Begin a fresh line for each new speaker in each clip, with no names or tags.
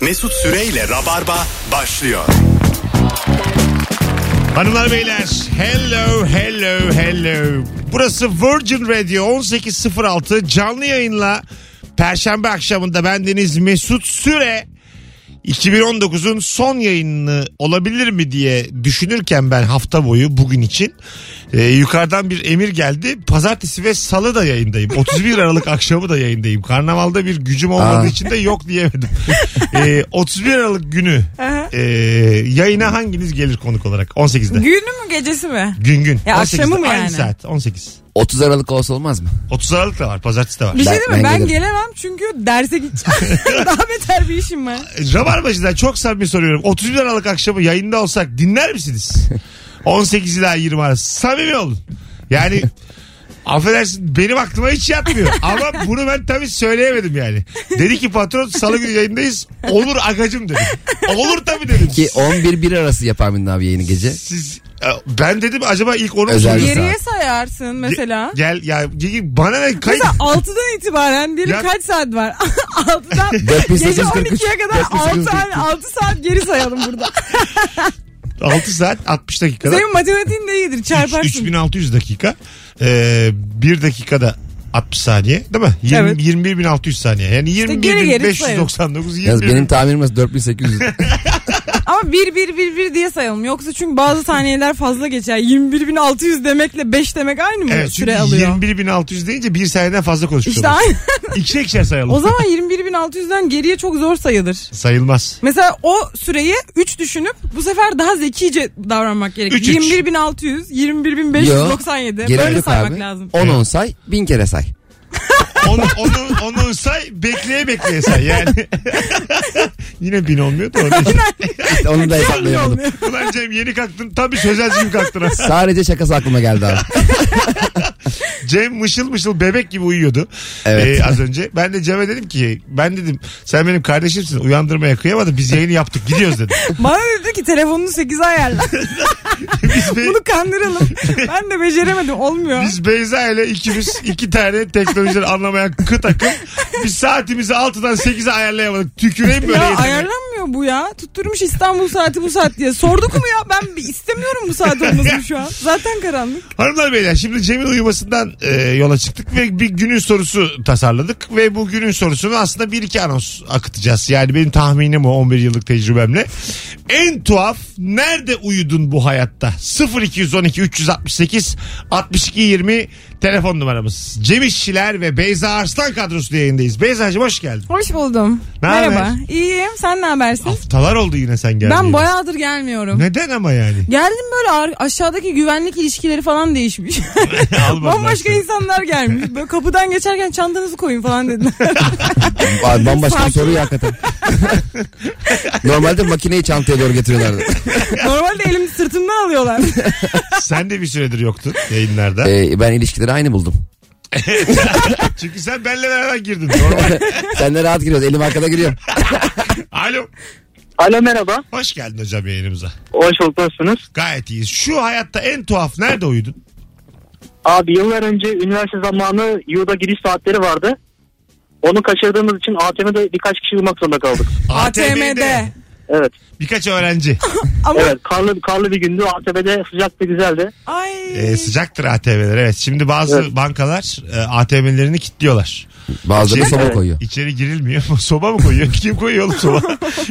Mesut Süreyle Rabarba başlıyor.
Hanımlar beyler hello hello hello. Burası Virgin Radio 1806 canlı yayınla Perşembe akşamında bendeniz Mesut Süre 2019'un son yayını olabilir mi diye düşünürken ben hafta boyu bugün için e, yukarıdan bir emir geldi. Pazartesi ve salı da yayındayım. 31 Aralık akşamı da yayındayım. Karnavalda bir gücüm olmadığı
Aa.
için de yok diyemedim. E, 31 Aralık günü e, yayına hanginiz gelir konuk olarak? 18'de.
Günü mü gecesi mi?
Gün gün.
Ya
18'de.
akşamı mı
Aynı
yani?
saat 18.
30 Aralık olsa olmaz mı?
30 Aralık da var. Pazartesi de var.
Bir şey
Ben-
değil mi? Ben,
ben gelirim.
gelemem çünkü derse gideceğim. Daha beter bir işim var.
Rabarbacı'dan E, çok samimi soruyorum. 31 Aralık akşamı yayında olsak dinler misiniz? 18 ila 20 arası. Samimi olun. Yani affedersin benim aklıma hiç yatmıyor. Ama bunu ben tabii söyleyemedim yani. Dedi ki patron salı günü yayındayız. Olur agacım dedi. Olur tabii dedim.
Ki 11-1 arası yapar Münir abi yayını gece.
Siz, e, ben dedim acaba ilk onu mu
Özel
soruyorsun?
bir
Geriye sayarsın mesela.
Gel ya bana ne kayıt.
Mesela 6'dan itibaren diyelim
Ya-
kaç saat var? 6'dan
Dört bin
gece
sekiz yüz kırk üç,
12'ye kadar
dört bin sekiz yüz
6,
kırk üç.
6 saat geri sayalım burada.
6 saat 60 dakikada.
Senin matematiğin de iyidir çarparsın.
3600 dakika. Ee, 1 dakikada 60 saniye değil mi? 20,
Evet.
21500 saniye. Yani
geri geri
21599
Yalnız
21
benim tahminimiz 4800.
Ama 1 1 1 1 diye sayalım. Yoksa çünkü bazı saniyeler fazla geçer. 21.600 demekle 5 demek aynı mı?
Evet, çünkü
Süre alıyor.
21600 deyince bir saniyeden fazla konuşuyoruz.
İşte aynı.
İkişer ikişer sayalım.
o zaman 21.600'den geriye çok zor sayılır.
Sayılmaz.
Mesela o süreyi 3 düşünüp bu sefer daha zekice davranmak gerek.
Üç, üç.
21.600,
Yok.
21.597
Gerek
böyle
yok
saymak
abi.
lazım.
10-10 say, 1000 kere say.
Onu, onu, onu say bekleye bekleye say yani. Yine bin olmuyor da. onun için.
İşte Onu da hesaplayamadım.
şey Olmuyor.
Ulan Cem yeni kalktın tabii sözelcim kalktın. ha.
Sadece şakası aklıma geldi abi.
Cem mışıl mışıl bebek gibi uyuyordu.
Evet.
Ee, az önce. Ben de Cem'e dedim ki ben dedim sen benim kardeşimsin uyandırmaya kıyamadım biz yayını yaptık gidiyoruz dedim.
Bana dedi ki telefonunu 8'e ayarla.
Biz, be-
Bunu kandıralım. Ben de beceremedim olmuyor.
biz Beyza ile ikimiz iki tane teknolojiden anlamayan kı takım biz saatimizi 6'dan 8'e ayarlayamadık. Tüküreyim böyle
Ya
yeteneğe.
ayarlanmıyor bu ya. Tutturmuş İstanbul saati bu saat diye. Sorduk mu ya? Ben bir istemiyorum bu saat olmasını şu an. Zaten karanlık.
Hanımlar beyler şimdi Cem'in uyumasından e, yola çıktık ve bir günün sorusu tasarladık ve bu günün sorusunu aslında bir iki anons akıtacağız. Yani benim tahminim o 11 yıllık tecrübemle. En tuhaf nerede uyudun bu hayatta? 0212 368 62 20 telefon numaramız. Cem İşçiler ve Beyza Arslan kadrosu yayındayız. Beyza'cığım hoş geldin.
Hoş buldum.
Ne
Merhaba.
haber?
İyiyim. Sen ne habersin?
Haftalar oldu yine sen geldin.
Ben bayağıdır gelmiyorum.
Neden ama yani?
Geldim böyle ar- aşağıdaki güvenlik ilişkileri falan değişmiş.
Almadılar
Bambaşka
seni.
insanlar gelmiş. Böyle kapıdan geçerken çantanızı koyun falan dediler.
Abi Bambaşka bir
Sakin.
soru ya hakikaten. Normalde makineyi çantaya doğru getiriyorlardı.
Normalde elimi sırtımdan alıyorlar.
Sen de bir süredir yoktun yayınlarda.
Ee, ben ilişkileri aynı buldum.
Çünkü sen benle beraber girdin. Normal.
Sen de rahat giriyorsun. Elim arkada giriyor.
Alo.
Alo merhaba.
Hoş geldin hocam yayınımıza.
Hoş bulduk nasılsınız?
Gayet iyiyiz. Şu hayatta en tuhaf nerede uyudun?
Abi yıllar önce üniversite zamanı yurda giriş saatleri vardı. Onu kaçırdığımız için ATM'de birkaç kişi uyumak zorunda kaldık.
ATM'de.
Evet.
Birkaç öğrenci.
Ama
Evet karlı, karlı bir gündü. ATM'de sıcak ve güzeldi.
ay.
Ee, sıcaktır ATM'ler evet. Şimdi bazı
Evet.
bankalar e, ATM'lerini kilitliyorlar.
Bazıları
Şey,
İçeri-
soba koyuyor.
İçeri girilmiyor. Soba mı koyuyor? Kim koyuyor oğlum soba?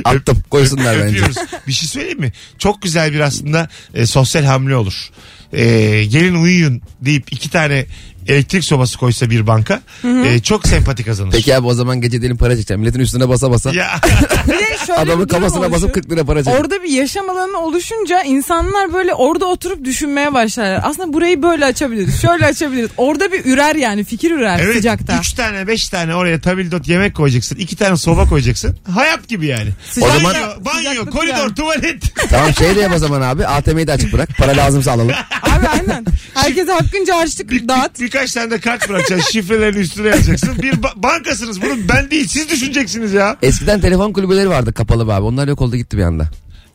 Attım koysunlar bence.
Öpüyoruz. Bir şey söyleyeyim mi? Çok güzel bir aslında e, sosyal hamle olur. E, gelin uyuyun deyip iki tane elektrik sobası koysa bir banka e, çok sempati kazanır.
Peki abi o zaman gece dilim para çekeceğim. Milletin üstüne basa basa.
Ya.
Bir de şöyle bir
Adamın
durum
kafasına
oluşuyor.
basıp 40 lira para çekeceğim.
Orada bir yaşam alanı oluşunca insanlar böyle orada oturup düşünmeye başlarlar. Aslında burayı böyle açabiliriz. Şöyle açabiliriz. Orada bir ürer yani fikir ürer
Evet.
sıcakta.
Üç tane beş tane oraya tabildot yemek koyacaksın. iki tane soba koyacaksın. Hayat gibi yani.
Sıcak-
banyo,
Sıcaklık
banyo
yani.
koridor, tuvalet.
Tamam şey de yap o zaman abi. ATM'yi de açık bırak. Para lazımsa alalım.
Abi aynen. Herkese hakkınca
Bir,
harçlık dağıt.
bir, birkaç tane de kart bırakacaksın. Şifrelerin üstüne yazacaksın. Bir ba- bankasınız. Bunu ben değil. Siz düşüneceksiniz ya.
Eskiden telefon kulübeleri vardı kapalı be abi. Onlar yok oldu gitti bir anda.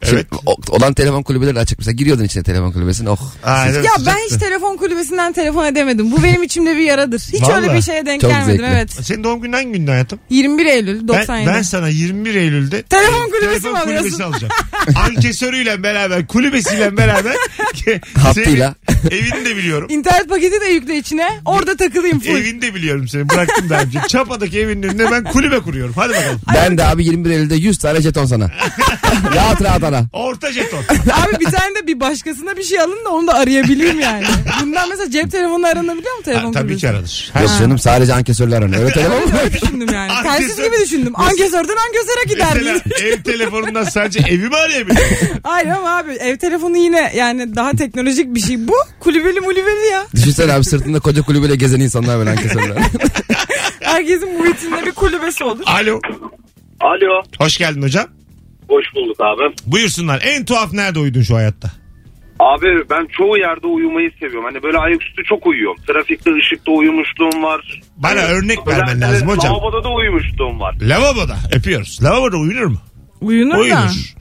Evet.
Şimdi o- olan telefon kulübeleri de açık. Mesela giriyordun içine telefon kulübesine. Oh.
Aynen.
Ya ben hiç telefon kulübesinden telefon edemedim. Bu benim içimde bir yaradır. Hiç öyle
Vallahi.
bir şeye denk
Çok
gelmedim.
zevkli.
Evet.
Senin doğum günün hangi gündü hayatım?
21 Eylül
Ben,
97.
ben sana 21 Eylül'de
Telefon kulübesi
telefon
mi alıyorsun?
kulübesi alacağım. Ankesörüyle beraber, kulübesiyle beraber
Hattıyla.
senin evini de biliyorum.
İnternet paketi de yükle içine. Orada takılayım full.
evini de biliyorum seni. Bıraktım daha önce. Çapa'daki evinin önüne ben kulübe kuruyorum. Hadi bakalım.
Ben de abi 21 Eylül'de 100 tane jeton sana. rahat rahat ana.
Orta jeton.
Abi bir tane de bir başkasına bir şey alın da onu da arayabileyim yani. Bundan mesela cep telefonu aranabiliyor mu telefon
Ha, tabii
kulübesi?
ki aranır.
Yok canım sadece ankesörler arıyor. Öyle telefon mu?
Öyle düşündüm yani.
Ankesör-
Telsiz gibi düşündüm. Ankesörden ankesöre gider
Mesela
miyiz?
ev telefonundan sadece evi mi arayabilirim?
Hayır ama abi ev telefonu yine yani daha teknolojik bir şey. Bu kulübeli mulübeli ya.
Düşünsene abi sırtında koca kulübüyle gezen insanlar böyle ankesörler.
Herkesin muhitinde bir kulübesi olur.
Alo.
Alo.
Hoş geldin hocam.
Hoş bulduk abi.
Buyursunlar. En tuhaf nerede uyudun şu hayatta?
Abi ben çoğu yerde uyumayı seviyorum. Hani böyle ayaküstü çok uyuyorum. Trafikte, ışıkta uyumuşluğum var.
Bana örnek
Özellikle
vermen lazım hocam.
Lavaboda da uyumuşluğum var.
Lavaboda. Öpüyoruz. Lavaboda uyunur mu?
Uyunur, da.
Uyunur.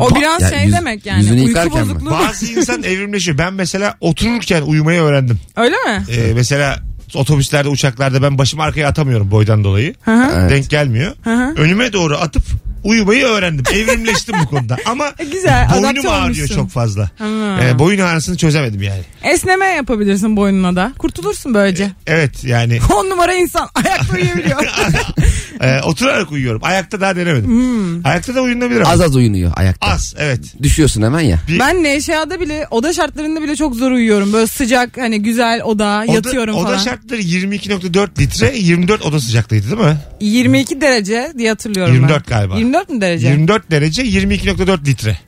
O biraz
Ya
şey
yüz-
demek yani.
yüzünü
Uyku
yıkarken mi?
bozukluğu.
Bazı insan evrimleşiyor. Ben mesela otururken uyumayı öğrendim.
Öyle mi?
Ee, mesela otobüslerde, uçaklarda ben başımı arkaya atamıyorum boydan dolayı.
Hı hı.
Evet.
Denk gelmiyor.
hı.
Önüme doğru atıp uyumayı öğrendim. Evrimleştim bu konuda. Ama
E, güzel,
boynum
adapte
ağrıyor
olmuşsun.
çok fazla.
Ha.
Ee, boyun ağrısını çözemedim yani.
Esneme yapabilirsin boynuna da. Kurtulursun böylece.
Evet yani
On numara insan ayakta uyuyabiliyor.
e, oturarak uyuyorum. Ayakta daha denemedim. Ayakta da uyunabilir ama. Az,
Az az uyunuyor ayakta.
evet.
Düşüyorsun hemen ya.
ben Neşeada bile oda şartlarında bile çok zor uyuyorum. Böyle sıcak hani güzel oda
Oda-
yatıyorum
oda,
falan.
şartları 22.4 litre 24 oda sıcaklığıydı değil mi?
22 derece diye hatırlıyorum
24
ben.
galiba.
24 mu derece?
24 derece 22.4 litre.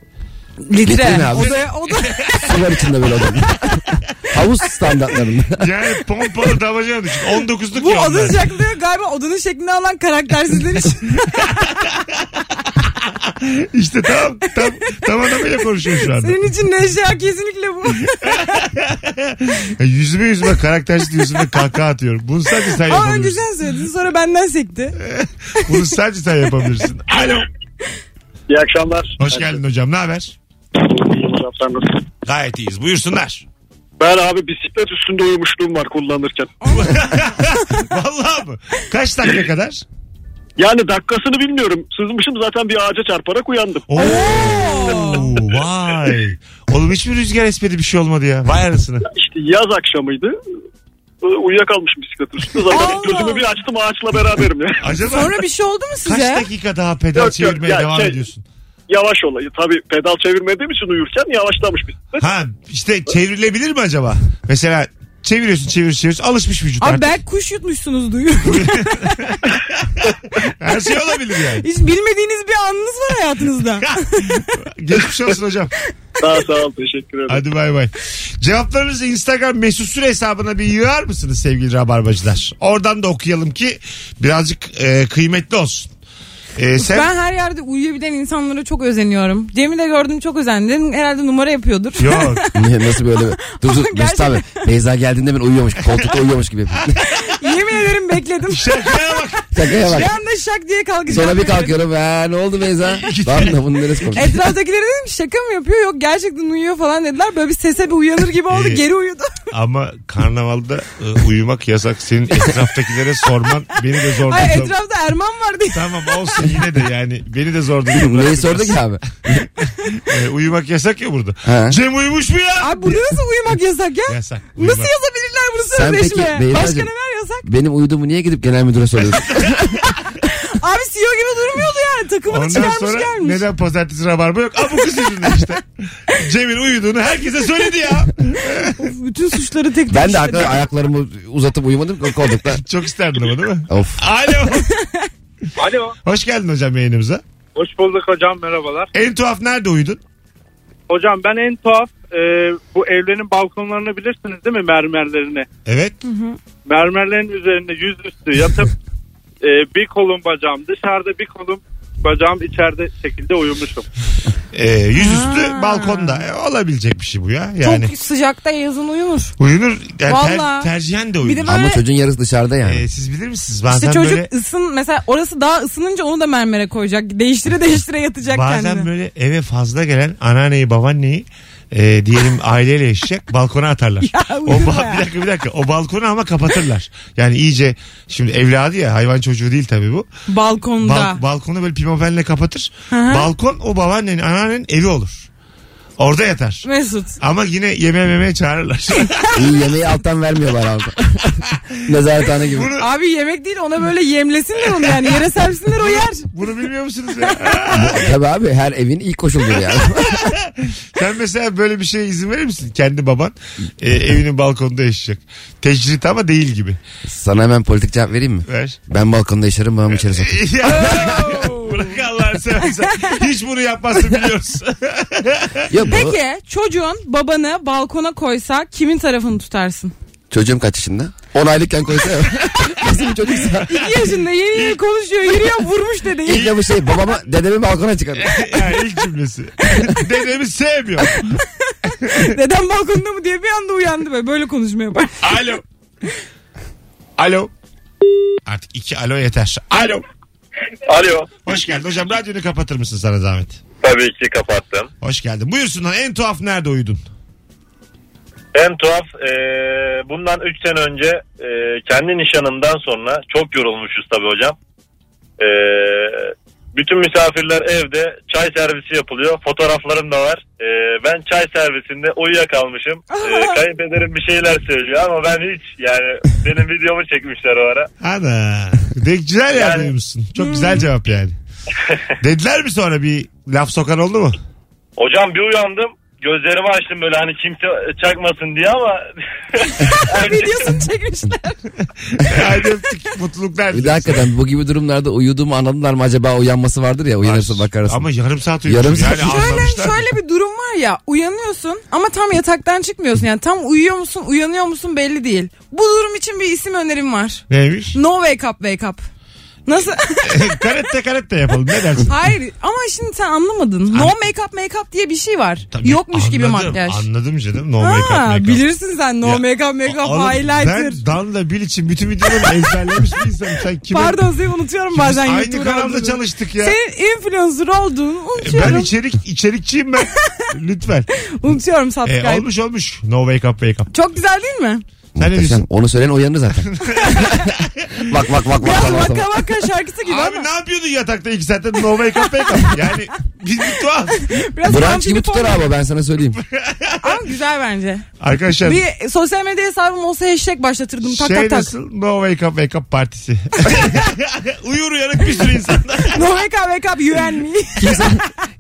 litre.
Litre ne abi?
Odaya, oda,
Sular içinde böyle adam. Havuz standartlarında.
Yani pompalı damacana düşün. 19'luk
bu
ya onlar.
oda sıcaklığı galiba odanın şeklini alan karaktersizler için.
İşte tam, tam, tam adamıyla konuşuyor şu anda.
Senin için Neşe kesinlikle bu.
Ya Yüzüme yüzüme karaktersiz yüzüme kahkaha atıyorum. Bunu sadece sen
Ama önce
yapabilirsin.
sen söyledin sonra benden sekti.
Bunu sadece sen yapabilirsin. Alo.
İyi akşamlar.
Hoş geldin hocam. Ne haber?
Sen nasılsın?
Gayet iyiyiz. Buyursunlar.
Ben abi bisiklet üstünde uyumuşluğum var kullanırken.
Vallahi mı? Kaç dakika kadar?
Yani dakikasını bilmiyorum. Sızmışım zaten bir ağaca çarparak uyandım.
Oo, vay. Oğlum hiçbir rüzgar esmedi bir şey olmadı ya. Vay arasını.
İşte yaz akşamıydı. Ee, Uyuyakalmışım bisiklet üstünde. Zaten
Allah.
gözümü bir açtım ağaçla beraberim ya.
Acaba
Sonra bir şey oldu mu
kaç
size?
dakika daha pedal
Yok, yok,
çevirmeye
ya
devam
şey-
ediyorsun?
Yavaş olayı. Tabii pedal çevirmediğim için uyurken yavaşlamış bisiklet.
Ha işte çevrilebilir mi acaba? Mesela çeviriyorsun çevir çevir alışmış vücut
Abi
artık.
belki kuş yutmuşsunuz duyuyorum.
Her şey olabilir yani.
Hiç bilmediğiniz bir anınız var hayatınızda.
Geçmiş olsun hocam.
Daha sağ ol teşekkür ederim.
Hadi bay bay. Cevaplarınızı Instagram mesut süre hesabına bir yığar mısınız sevgili rabarbacılar? Oradan da okuyalım ki birazcık e, kıymetli olsun. E, sen
Ben her yerde uyuyabilen insanlara çok özeniyorum. Cem'i de gördüm çok özendim. Herhalde numara yapıyordur.
Yok.
Ne- Nasıl böyle? Dur dur.
Gerçekten.
Mesut abi. Beyza geldiğinde ben uyuyormuş. Koltukta uyuyormuş gibi.
Yemin ederim bekledim.
Şakaya bak.
Şakaya bak.
Bir anda şak diye kalkacağım.
Sonra bir kalkıyorum. Ha, ne oldu Beyza? Lan da bunun neresi komik?
Etraftakilere dedim ki, şaka mı yapıyor? Yok gerçekten uyuyor falan dediler. Böyle bir sese bir uyanır gibi oldu.
Ee,
Geri uyudu.
Ama karnavalda e, uyumak yasak. Senin etraftakilere sorman beni de zor
Ay
durumda-
etrafta Erman var diye.
Tamam olsun yine de yani beni de zor durumda
Neyi
bırakmaz.
sordu ki abi?
E, uyumak yasak ya burada.
Ha.
Cem uyumuş mu ya?
Abi burada nasıl uyumak yasak ya?
Yasak. Uyumak.
Nasıl yazabilirler bunu
Sen peki
sözleşmeye?
Beyza'cığım-
Başka neler yasak?
Benim uyuduğumu niye gidip genel müdüre soruyorsun?
Abi CEO gibi durmuyordu yani. Takımını
Ondan
çıkarmış
sonra
gelmiş.
neden pazartesi rabarba yok? Aa bu kız yüzünden işte. Cem'in uyuduğunu herkese söyledi ya.
Bütün suçları tek tek
Ben de
işledi.
arkada ayaklarımı uzatıp uyumadım ki koltukta.
Çok isterdim ama değil mi?
Of.
Alo.
Alo.
Hoş geldin hocam yayınımıza.
Hoş bulduk hocam merhabalar.
En tuhaf nerede uyudun?
Hocam ben en tuhaf e, bu evlerin balkonlarını bilirsiniz değil mi mermerlerini?
Evet.
Mermerlerin üzerinde yüzüstü yatıp e, bir kolum bacağım dışarıda bir kolum bacağım içeride şekilde uyumuşum.
Ee, yüzüstü
Ha.
balkonda. E, olabilecek bir şey bu ya. Yani
Çok sıcakta yazın uyumur.
uyunur. Yani ter-
Vallahi.
tercihen de
Bir de
uyunur.
ben-
Ama
Böyle-
çocuğun yarısı dışarıda yani.
Ee, siz bilir misiniz? Bazen
İşte çocuk
böyle
ısın mesela orası daha ısınınca onu da mermere koyacak. Değiştire değiştire yatacak
bazen
kendini.
böyle eve fazla gelen anneanneyi babaanneyi e, diyelim aileyle yaşayacak balkona atarlar.
Ya
o
uydurma
ba-
ya.
bir dakika bir dakika. O balkonu ama kapatırlar. Yani iyice şimdi evladı ya hayvan çocuğu değil tabii bu.
Balkonda.
Bal- balkonu böyle pimapenle kapatır.
hı.
Balkon o babaannenin anneannenin evi olur. Orada yatar.
Mesut.
Ama yine yemeğe memeye çağırırlar.
İyi yemeği alttan vermiyorlar abi. Nezarethane gibi.
Bunu-
Abi yemek değil ona böyle yemlesinler onu yani yere sersinler o yer.
Bunu bilmiyor musunuz ya?
Tabii abi her evin ilk koşuldur yani.
Sen mesela böyle bir şeye izin verir misin? Kendi baban e, evinin balkonunda yaşayacak. Tecrit ama değil gibi.
Sana hemen politik cevap vereyim mi?
Ver.
Ben balkonda yaşarım babam içeri sokar.
Ya, Bırak Allah'ını seversen. Hiç bunu yapmazsın biliyoruz.
Yok bu.
Peki çocuğun babanı balkona koysa kimin tarafını tutarsın?
Çocuğum kaç yaşında? 10 aylıkken koysa. Nasıl bir çocuksa?
2 yaşında yeni yeni konuşuyor yürüyor vurmuş dedi.
İlk de bu şey babama dedemi balkona çıkarır.
yani ilk cümlesi. Dedemi sevmiyor.
Neden balkonda mı diye bir anda uyandı böyle böyle konuşmaya bak.
Alo. Alo. Artık iki alo yeter. Alo.
Alo.
Hoş geldin hocam. Radyonu kapatır mısın sana zahmet?
Tabii ki kapattım.
Hoş geldin. Buyursunlar en tuhaf nerede uyudun?
En tuhaf e, bundan 3 sene önce e, kendi nişanımdan sonra çok yorulmuşuz tabii hocam. E, bütün misafirler evde çay servisi yapılıyor. Fotoğraflarım da var. E, ben çay servisinde uyuyakalmışım. E, kayınpederim bir şeyler söylüyor ama ben hiç yani benim videomu çekmişler o ara.
Ana. De güzel yani.
Yani-
Çok güzel cevap yani. Dediler mi sonra bir laf sokan oldu mu?
Hocam bir uyandım. Gözlerimi açtım böyle hani kimse çakmasın diye ama
Videosunu çekmişler.
Hadi öptük. Mutluluklar.
Bir de hakikaten bu gibi durumlarda uyuduğumu anladılar mı acaba uyanması vardır ya uyanırsın bakarsın.
Ama yarım saat uyudum.
Yarım
yani
saat.
Şöyle,
anlamışlar.
şöyle bir durum var ya uyanıyorsun ama tam yataktan çıkmıyorsun yani tam uyuyor musun uyanıyor musun belli değil. Bu durum için bir isim önerim var.
Neymiş?
No wake up wake up. Nasıl?
karette karette yapalım. Ne dersin?
Hayır ama şimdi sen anlamadın. No make up make up diye bir şey var.
Hani- Tabii,
Yokmuş gibi
anladım,
makyaj.
Anladım canım. No
Ha,
make up make up.
bilirsin sen no
Ya,
make up make up
Oğlum,
highlighter.
Ben Dan'la Bill için bütün videoları ezberlemiş bir insanım. Sen kime...
Pardon seni unutuyorum
Biz
bazen.
aynı
YouTube'da
kanalda
olduğunu.
çalıştık ya. E,
Senin influencer olduğunu unutuyorum.
Ben içerik içerikçiyim ben. Lütfen.
Unutuyorum subscribe.
Ee, olmuş olmuş. No wake up wake up.
Çok güzel değil mi?
Sen ne
Muhteşem.
diyorsun?
Onu söyleyen uyanır zaten. bak bak bak bak.
Biraz
bak,
vaka
bak.
vaka şarkısı gibi
Abi
ama.
ne yapıyordun yatakta iki saatte no wake up wake up. Yani biz bir tuhaf.
Biraz
Branç
Anthony
gibi tutar
Paul-
abi ben sana söyleyeyim.
Ama güzel bence.
Arkadaşlar
Bir sosyal medya hesabım olsa hashtag başlatırdım tak
şey
tak tak.
nasıl? No wake up wake up partisi. Uyur uyanık bir sürü insan.
No wake up wake up you and me.
Kimse,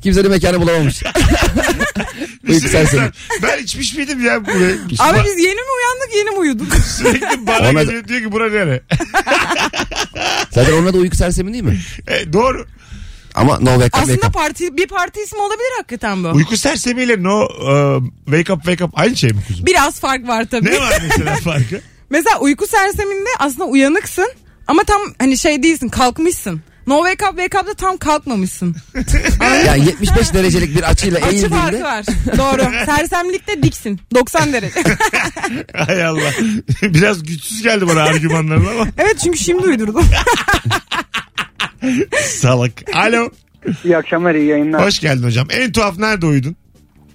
kimsenin mekanı bulamamış.
Bir şey sürü
Uyku sersemi.
insan. Ben içmiş miydim ya buraya?
Abi biz yeni mi uyandık yeni mi uyuduk?
Sürekli bana
Ona-
geliyor diyor ki bura nere?
Zaten onun adı uyku sersemi değil mi?
E, doğru.
Ama no wake up wake
Aslında
up.
parti bir parti ismi olabilir hakikaten bu.
Uyku sersemiyle no e, wake up wake up aynı şey mi kuzum?
Biraz fark var tabii.
Ne var mesela farkı?
Mesela uyku serseminde aslında uyanıksın ama tam hani şey değilsin kalkmışsın. No wake up wake up'da tam kalkmamışsın.
Yani 75 derecelik bir açıyla
Açı farkı
eğildiğinde
var. Doğru. Sersemlikte diksin. 90 derece.
Hay Allah. Biraz güçsüz geldi bana argümanların ama
evet çünkü şimdi uydurdum.
salak. Alo.
İyi akşamlar iyi yayınlar.
Hoş geldin hocam. En tuhaf nerede uyudun?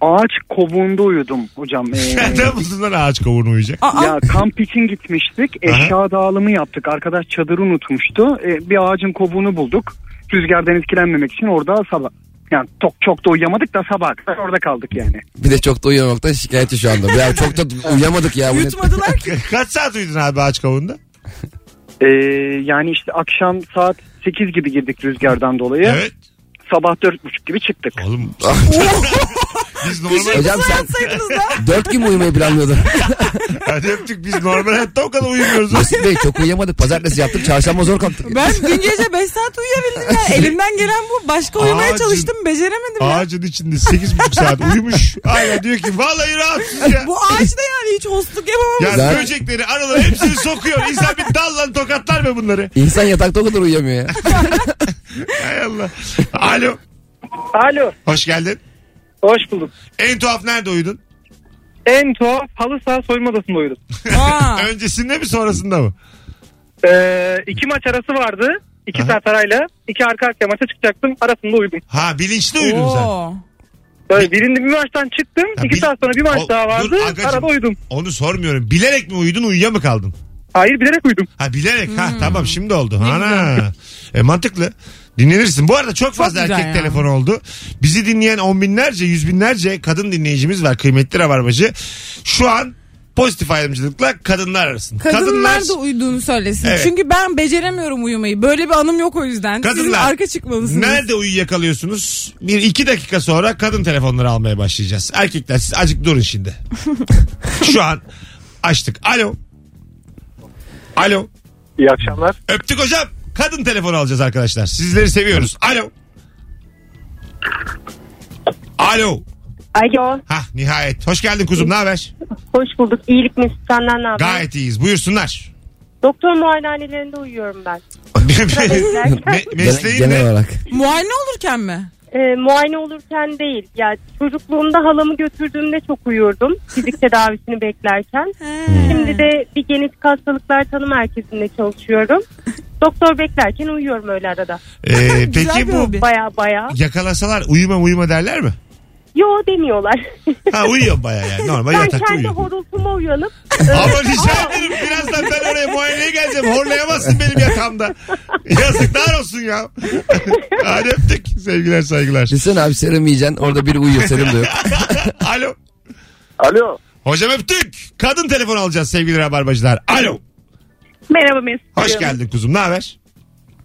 Ağaç kovuğunda uyudum hocam. e,
Nereden buldun lan ağaç kavuğunu uyuyacak?
Aa,
Ya kamp için gitmiştik. Eşya dağılımı yaptık. Arkadaş çadırı unutmuştu. E, bir ağacın kovuğunu bulduk. Rüzgardan etkilenmemek için orada sabah yani çok çok da uyuyamadık da sabah kadar orada kaldık yani.
bir de çok da uyumamaktan şikayetçi şu anda. Ya çok da uyuyamadık ya. Bu ne-
yutmadılar ki.
Kaç saat uyudun abi ağaç kavuğunda?
E, yani işte akşam saat 8 gibi girdik rüzgardan dolayı.
Evet.
Sabah 4.30 gibi çıktık.
Oğlum. biz normal,
Kışın
Hocam
kısa
sen-
yatsaydınız da.
Dört gün mü uyumayı planlıyordun?
hadi öptük. Biz normal hayatta o kadar uyumuyoruz.
Mesut Bey çok uyuyamadık. Pazartesi yaptık. Çarşamba zor kalktık.
Ben dün gece 5 saat uyuyabildim ya. Elimden gelen bu. Başka uyumaya
Ağacın-
çalıştım beceremedim ya.
Ağacın içinde 8,5 saat uyumuş. Hala diyor ki vallahi rahatsız ya.
Bu ağaçta yani hiç hostluk
Ya
yapamamışsın.
Zaten-
böcekleri araları hepsini sokuyor. İnsan bir dallan tokatlar mı bunları?
İnsan yatakta o kadar uyuyamıyor ya.
Hay Allah. Alo.
Alo.
Hoş geldin.
Hoş bulduk.
En tuhaf nerede uyudun?
En tuhaf halı saha soyunma odasında uyudum.
Aa,
Öncesinde mi sonrasında mı?
Ee, iki maç arası vardı. İki
Aha.
saat arayla. iki arka arkaya maça çıkacaktım. Arasında uyudum.
Ha bilinçli uyudun sen.
oo.
Böyle birinde bir maçtan çıktım.
Ya
iki
bil-
saat sonra bir maç
O-
daha
dur
vardı.
agacım.
arada uyudum.
Onu sormuyorum. Bilerek mi uyudun uyuya mı kaldın?
Hayır bilerek uyudum.
Ha bilerek ha
Hmm.
tamam şimdi oldu. Ana. E, mantıklı. Dinlenirsin. Bu arada çok fazla
güzel
erkek
ya.
telefonu oldu. Bizi dinleyen on binlerce, yüz binlerce kadın dinleyicimiz var. Kıymetli Rabarbacı. Şu an pozitif ayrımcılıkla kadınlar arasında.
Kadınlar, da uyuduğunu söylesin.
Evet.
Çünkü ben beceremiyorum uyumayı. Böyle bir anım yok o yüzden. Sizin
Kadınlar.
arka çıkmalısınız.
Nerede uyuyakalıyorsunuz? Bir iki dakika sonra kadın telefonları almaya başlayacağız. Erkekler siz acık durun şimdi. Şu an açtık. Alo. Alo.
İyi akşamlar.
Öptük hocam. Kadın telefonu alacağız arkadaşlar. Sizleri seviyoruz. Alo. Alo.
Alo,
Hah nihayet. Hoş geldin kuzum. Ne haber?
hoş bulduk. İyilik mi? Senden ne haber?
Gayet iyiyiz. Buyursunlar.
Doktor muayenehanelerinde uyuyorum ben.
Me-
Gene-
mesleğin
Genel
ne?
olarak.
Muayene olurken mi?
Ee, muayene olurken değil. Ya çocukluğumda halamı götürdüğümde çok uyurdum. Fizik tedavisini beklerken. Şimdi de bir genetik hastalıklar tanı merkezinde çalışıyorum. Doktor beklerken uyuyorum öyle arada.
Ee,
Güzel
peki
bir
bu
hobi.
Baya baya.
yakalasalar uyuma uyuma derler mi?
Yo demiyorlar.
Ha uyuyor baya yani. Normal
ben
yatakta
kendi
uyuyor.
horultuma uyanıp
Ama rica ederim birazdan ben oraya muayeneye geleceğim. Horlayamazsın benim yatağımda. Yazıklar olsun ya. Hadi öptük. Sevgiler saygılar.
Düşünsene abi serum yiyeceksin orada biri uyuyor serum da yok.
Alo.
Alo.
Hocam öptük. Kadın telefon alacağız sevgili rabarbacılar. Alo.
Merhaba Mesut.
Hoş geldin kuzum. Ne haber?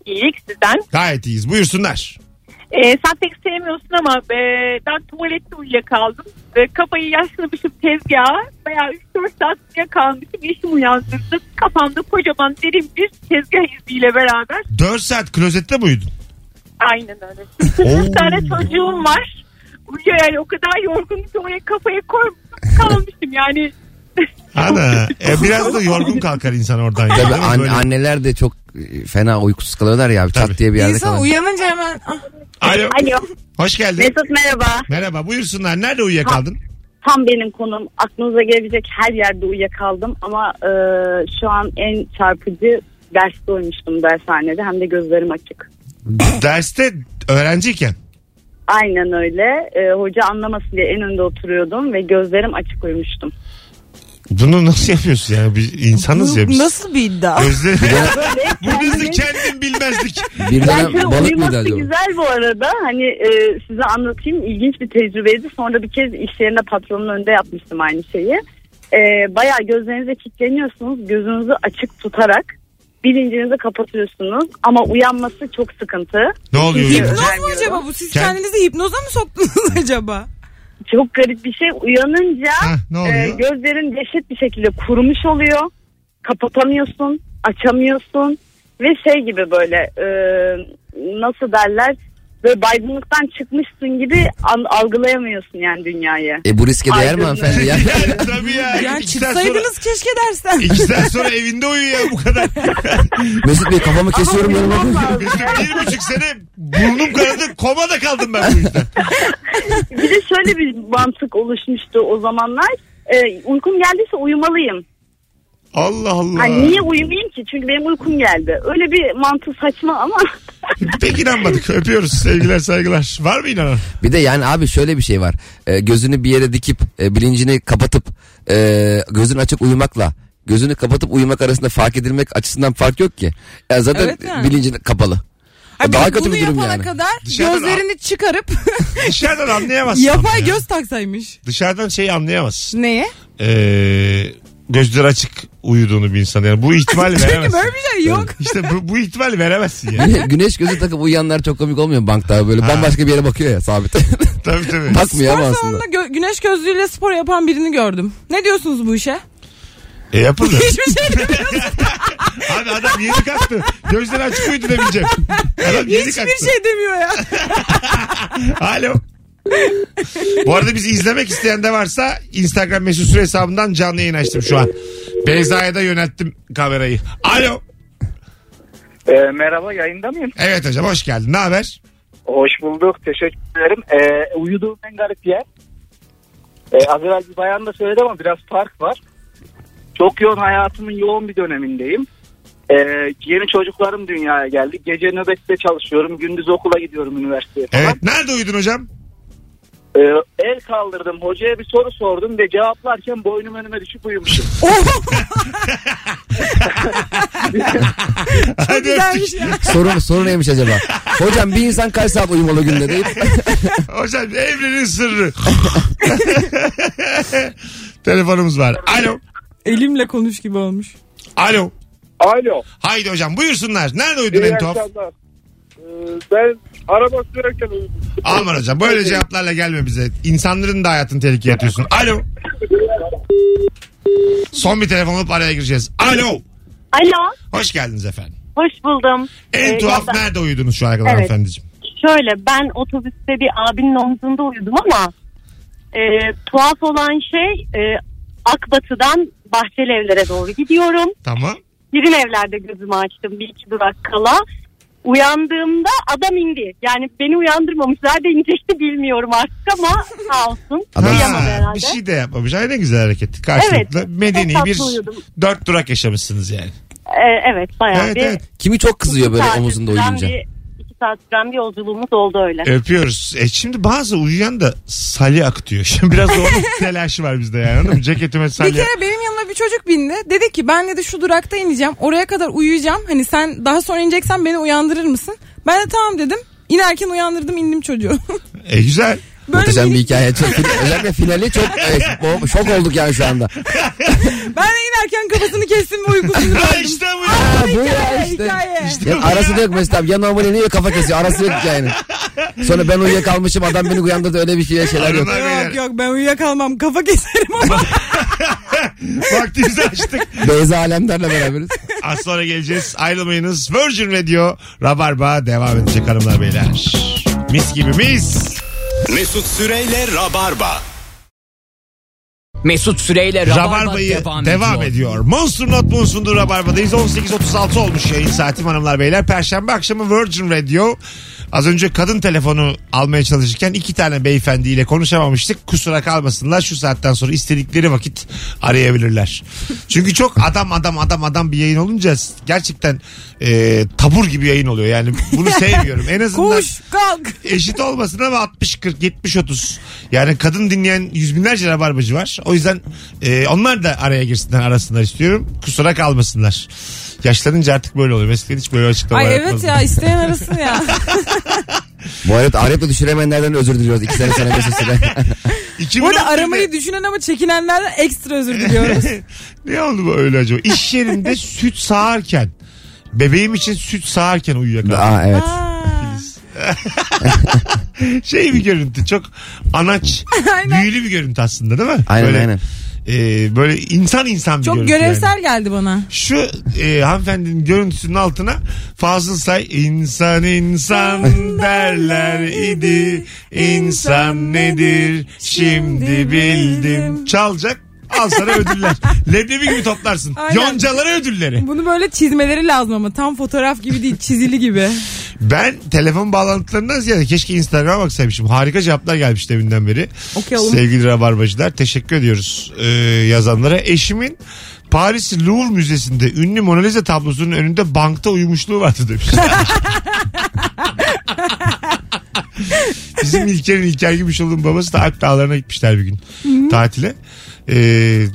İyilik sizden.
Gayet iyiyiz. Buyursunlar.
Ee, sen pek sevmiyorsun ama e, ben tuvalette uyuyakaldım. E, kafayı yaşlamışım tezgaha. Bayağı 3-4 saat uyuyakalmışım. Eşim uyandırdı. Kafamda kocaman derin bir tezgah iziyle beraber.
4 saat klozette mi uyudun?
Aynen öyle. Bir tane çocuğum var. Uyuyor yani o kadar yorgunum ki oraya kafayı koymuşum. Kalmışım yani.
Ana. E, biraz da yorgun kalkar insan oradan. ya,
Tabii
değil mi?
an-
Böyle-
anneler de çok e, fena uykusuz kalıyorlar ya abi
Tabii.
çat diye bir yerde
İnsan
kalıyor.
uyanınca hemen ah,
Alo.
Alo.
Hoş geldin.
Mesut merhaba.
Merhaba. Buyursunlar. Nerede uyuyakaldın?
Tam benim konum. Aklınıza gelebilecek her yerde uyuyakaldım ama e, şu an en çarpıcı derste uyumuştum dershanede hem de gözlerim açık.
Derste öğrenciyken.
Aynen öyle. E, hoca anlamasın diye en önde oturuyordum ve gözlerim açık uyumuştum.
Bunu nasıl yapıyorsun ya? Biz insanız ya biz.
nasıl bir iddia?
Gözleri...
Böyle
Bu nasıl kendin bilmezlik.
Bir dönem
Bence
balık mıydı
uyuması
acaba?
güzel bu arada. Hani e, size anlatayım ilginç bir tecrübeydi. Sonra bir kez iş yerinde patronun önünde yapmıştım aynı şeyi. E, bayağı gözlerinize kilitleniyorsunuz. Gözünüzü açık tutarak bilincinizi kapatıyorsunuz. Ama uyanması çok sıkıntı.
Ne oluyor?
Hipnoz.
ya?
Hipnoz mu acaba bu? Siz
Kend-
kendinizi hipnoza mı soktunuz acaba?
Çok garip bir şey. Uyanınca
Hah, ne oluyor?
e, gözlerin dehşet bir şekilde kurumuş oluyor. Kapatamıyorsun, açamıyorsun ve şey gibi böyle e, nasıl derler böyle baygınlıktan çıkmışsın gibi an- algılayamıyorsun yani dünyayı.
E bu riske değer mi
Ay,
hanımefendi ya?
Yani tabii ya.
Yani
İki saat sonra,
çıksaydınız keşke dersten.
iki saat sonra evinde uyuyor ya bu kadar.
Mesut Bey kafamı kesiyorum yanıma.
Mesut bir buçuk sene burnum kanadı komada kaldım ben bu yüzden.
Bir de şöyle bir mantık oluşmuştu o zamanlar. E, uykum geldiyse uyumalıyım.
Allah Allah.
Hani niye uyumayayım ki? Çünkü benim uykum geldi. Öyle bir mantık saçma ama
Pek inanmadık. Öpüyoruz. Sevgiler saygılar. Var mı inanan?
Bir de yani abi şöyle bir şey var. E, gözünü bir yere dikip e, bilincini kapatıp e, gözün açık uyumakla gözünü kapatıp uyumak arasında fark edilmek açısından fark yok ki. Yani zaten
Evet yani.
bilincin kapalı.
Hayır,
Daha
bunu
kötü bir durum
yapana
yani.
kadar
Dışarıdan
gözlerini çıkarıp
Dışarıdan anlayamazsın. ama
yapay
ya.
göz taksaymış.
Dışarıdan şeyi anlayamazsın.
Neye?
Ee, gözleri açık uyuduğunu bir insan. Yani bu ihtimali
Çünkü
veremezsin.
böyle bir şey yok.
İşte bu, bu ihtimali veremezsin yani.
Güne- Güneş gözü takıp uyuyanlar çok komik olmuyor mu bankta böyle bambaşka bir yere bakıyor ya sabit.
tabii tabii.
Bakmıyor ama
Spor
aslında.
salonunda gö- güneş gözlüğüyle spor yapan birini gördüm. Ne diyorsunuz bu işe?
E yapılır.
Hiçbir şey demiyorum.
Abi adam yeni kalktı. Gözleri açık uyudu demeyeceğim. Adam yeni kalktı.
Hiçbir şey demiyor ya.
Alo. Bu arada bizi izlemek isteyen de varsa Instagram mesut süre hesabından canlı yayın açtım şu an. Beyza'ya da yönelttim kamerayı. Alo.
merhaba yayında mıyım?
Evet hocam hoş geldin. Ne haber?
Hoş bulduk. Teşekkür ederim. Ee, uyuduğum en garip yer. Ee, az evvel bir bayan da söyledi ama biraz fark var. Çok yoğun hayatımın yoğun bir dönemindeyim. Ee, yeni çocuklarım dünyaya geldi. Gece nöbette çalışıyorum. Gündüz okula gidiyorum üniversiteye falan.
Evet. Nerede uyudun hocam?
Ee, el kaldırdım. Hocaya bir soru sordum ve cevaplarken boynum önüme düşüp uyumuşum.
Hadi
Güzelmiş
öptük.
ya.
Sorun, soru neymiş acaba? Hocam bir insan kaç saat uyumalı günde deyip
Hocam evrenin sırrı. Telefonumuz var. Alo.
Elimle konuş gibi olmuş.
Alo.
Alo.
Haydi hocam buyursunlar. Nerede uyudun
iyi
en tuhaf?
akşamlar. Ee, ben araba sürerken uyudum.
Aman hocam böyle cevaplarla gelme bize. İnsanların da hayatını tehlikeye atıyorsun. Alo. Son bir telefon alıp araya gireceğiz. Alo.
Alo,
Hoş geldiniz efendim.
hoş buldum.
En
Ee,
tuhaf
ya da-
nerede uyudunuz şu ana kadar
Evet.
efendiciğim?
Şöyle ben otobüste bir abinin omzunda uyudum ama e, tuhaf olan şey e, Akbatı'dan Bahçeli Evler'e doğru gidiyorum.
Tamam.
Birin evlerde gözümü açtım bir iki durak kala. Uyandığımda adam indi. Yani beni uyandırmamışlar da inecekti bilmiyorum artık ama sağ olsun.
Adam-
Uyuyamadı herhalde.
bir şey de yapmamış. Ay ne güzel hareket. Karşılıklı
Evet.
medeni
Çok
bir
tatlı uyudum.
dört durak yaşamışsınız yani.
Ee, evet bayağı
Evet,
bir...
evet.
kimi çok kızıyor böyle
iki saat
omuzunda
süren
uyuyunca.
bir- iki saat süren bir yolculuğumuz oldu öyle.
Öpüyoruz. E şimdi bazı uyuyan da salya akıtıyor. Şimdi biraz o telaşı var bizde yani. Anladın mı? Ceketime
Bir
salya.
kere benim yanıma bir çocuk bindi. Dedi ki ben dedi şu durakta ineceğim. Oraya kadar uyuyacağım. Hani sen daha sonra ineceksen beni uyandırır mısın? Ben de tamam dedim. İnerken uyandırdım indim çocuğu.
E güzel.
Böyle
Muhteşem bir
bir-
hikaye. Çok, özellikle finali çok e, şok olduk yani şu anda.
ben de inerken kafasını kestim ve uykusunu
Ha
verdim.
işte bu ya.
Ha, bu ya
Hikaye,
işte.
hikaye.
Ya arası da yok Mesut abi. Ya normal iniyor kafa kesiyor. Arası yok yani. Sonra ben uyuyakalmışım adam beni uyandırdı öyle bir şey şeyler yok.
Hanımlar, beyler.
Yok yok ben uyuyakalmam kafa keserim ama.
Vaktimizi açtık.
Beyza Alemdar'la beraberiz.
Az sonra geleceğiz. Ayrılmayınız. Virgin Radio Rabarba devam edecek hanımlar beyler. Mis gibi mis.
Mesut Süreyle Rabarba.
Mesut Süreyle Rabarba
Rabarba'yı devam,
devam, ediyor.
ediyor. Monster Not Monsundur Rabarba'dayız. 18.36 olmuş yayın saati hanımlar beyler. Perşembe akşamı Virgin Radio. Az önce kadın telefonu almaya çalışırken iki tane beyefendiyle konuşamamıştık. Kusura kalmasınlar şu saatten sonra istedikleri vakit arayabilirler. Çünkü çok adam adam adam adam bir yayın olunca gerçekten e, tabur gibi yayın oluyor. Yani bunu sevmiyorum. En azından
Koş kalk.
eşit olmasın ama 60 40 70 30. Yani kadın dinleyen yüz binlerce rabarbacı var. O yüzden e, onlar da araya girsinler arasınlar istiyorum. Kusura kalmasınlar. Yaşlanınca artık böyle oluyor. Eskiden hiç böyle açıklama
Ay evet
yapmazdım.
ya isteyen arasın ya.
Bu arada Arap'la düşüremeyenlerden özür diliyoruz. İki sene sene beş sene.
2011'de
Bu arada aramayı düşünen ama çekinenlerden ekstra özür diliyoruz.
ne oldu bu öyle acaba? İş yerinde süt sağarken bebeğim için süt sağarken uyuyakaldım.
Aa evet.
Aa.
Şey bir görüntü çok anaç büyülü bir görüntü aslında değil mi?
Aynen
böyle,
aynen.
e, böyle insan insan bir
Çok
görüntü yani.
görevsel geldi bana.
şu e, hanımefendinin görüntüsünün altına Fazıl Say insan insan derler idi insan nedir şimdi bildim çalacak al sana ödüller leblebi gibi toplarsın
Aynen.
yoncalara ödülleri
Bunu böyle çizmeleri lazım ama tam fotoğraf gibi değil çizili gibi.
ben telefon bağlantılarından ziyade keşke Instagram'a baksaymışım harika cevaplar gelmiş deminden beri
Okuyalım.
sevgili Rabarbacılar teşekkür ediyoruz e, yazanlara eşimin Paris Louvre Müzesi'nde ünlü Mona Lisa tablosunun önünde bankta uyumuşluğu vardı demiş. Bizim İlker'in İlker Gümüşoğlu'nun babası da Alp Dağları'na gitmişler bir gün tatile. Ee,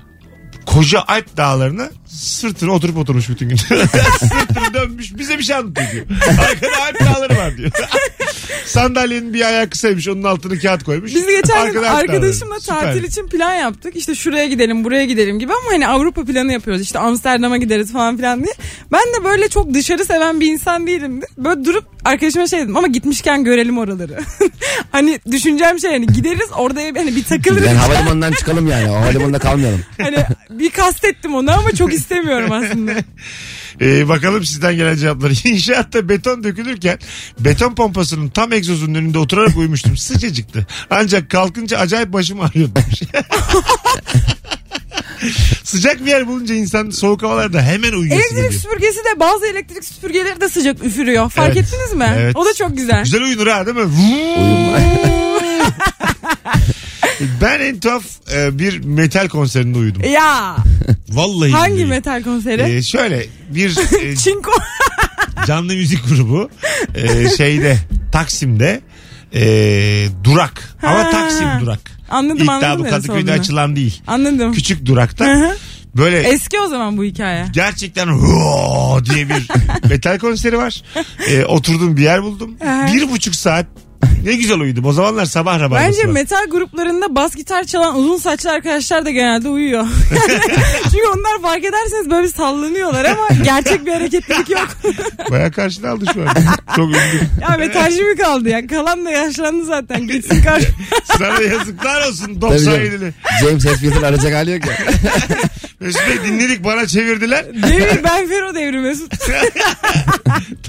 koca Alp Dağları'na sırtına oturup oturmuş bütün gün. sırtını dönmüş bize bir şey anlatıyor diyor. Arkada Alp Dağları var diyor. Sandalyenin bir ayağı kısaymış onun altını kağıt koymuş.
Biz geçen gün
Arkada Alp Dağları.
arkadaşımla
Süper.
tatil için plan yaptık. İşte şuraya gidelim, buraya gidelim gibi ama hani Avrupa planı yapıyoruz. İşte Amsterdam'a gideriz falan filan diye. Ben de böyle çok dışarı seven bir insan değilim. Böyle durup arkadaşıma şey dedim ama gitmişken görelim oraları. hani düşüneceğim şey hani gideriz orada hani bir takılırız.
Yani havalimanından çıkalım yani. O havalimanında kalmayalım.
hani bir kastettim onu ama çok istemiyorum aslında.
Ee, bakalım sizden gelen cevapları. İnşaatta beton dökülürken beton pompasının tam egzozunun önünde oturarak uyumuştum. Sıcacıktı. Ancak kalkınca acayip başım ağrıyordu. Sıcak bir yer bulunca insan soğuk havalarda hemen uyuyorsun.
Elektrik süpürgesi de bazı elektrik süpürgeleri de sıcak üfürüyor. Fark
Evet.
ettiniz mi?
Evet.
O da çok güzel.
Güzel uyunur ha değil mi? Vuuu. ben en tuhaf e, bir metal konserinde uyudum.
Ya
Vallahi
E, hangi
billahi.
metal konseri?
E, şöyle bir e,
Çinko.
canlı müzik grubu e, şeyde Taksim'de e, durak ama
Ha.
Taksim durak.
Anladım,
İlk daha
anladım
bu
neresi
Kadıköy'de
olduğunu.
açılan değil.
Anladım.
Küçük
Hı
durakta
hı.
böyle
Eski o zaman bu hikaye.
gerçekten "Hoo!" diye bir metal konseri var. E, oturduğum bir yer buldum. bir buçuk saat ne güzel uyudum. O zamanlar sabah rabarbası
Bence
var.
metal gruplarında bas gitar çalan uzun saçlı arkadaşlar da genelde uyuyor. Çünkü onlar fark ederseniz böyle bir sallanıyorlar ama gerçek bir hareketlilik yok.
Baya karşına aldı şu an. Çok üzüldüm.
ya metalci mi kaldı ya? Kalan da yaşlandı zaten. Gitsin kar.
Sana yazıklar olsun
Tabii
97'li.
canım. James Hetfield'ın arayacak hali yok ya.
Mesut Bey dinledik bana çevirdiler.
Devir ben Fero devri Mesut.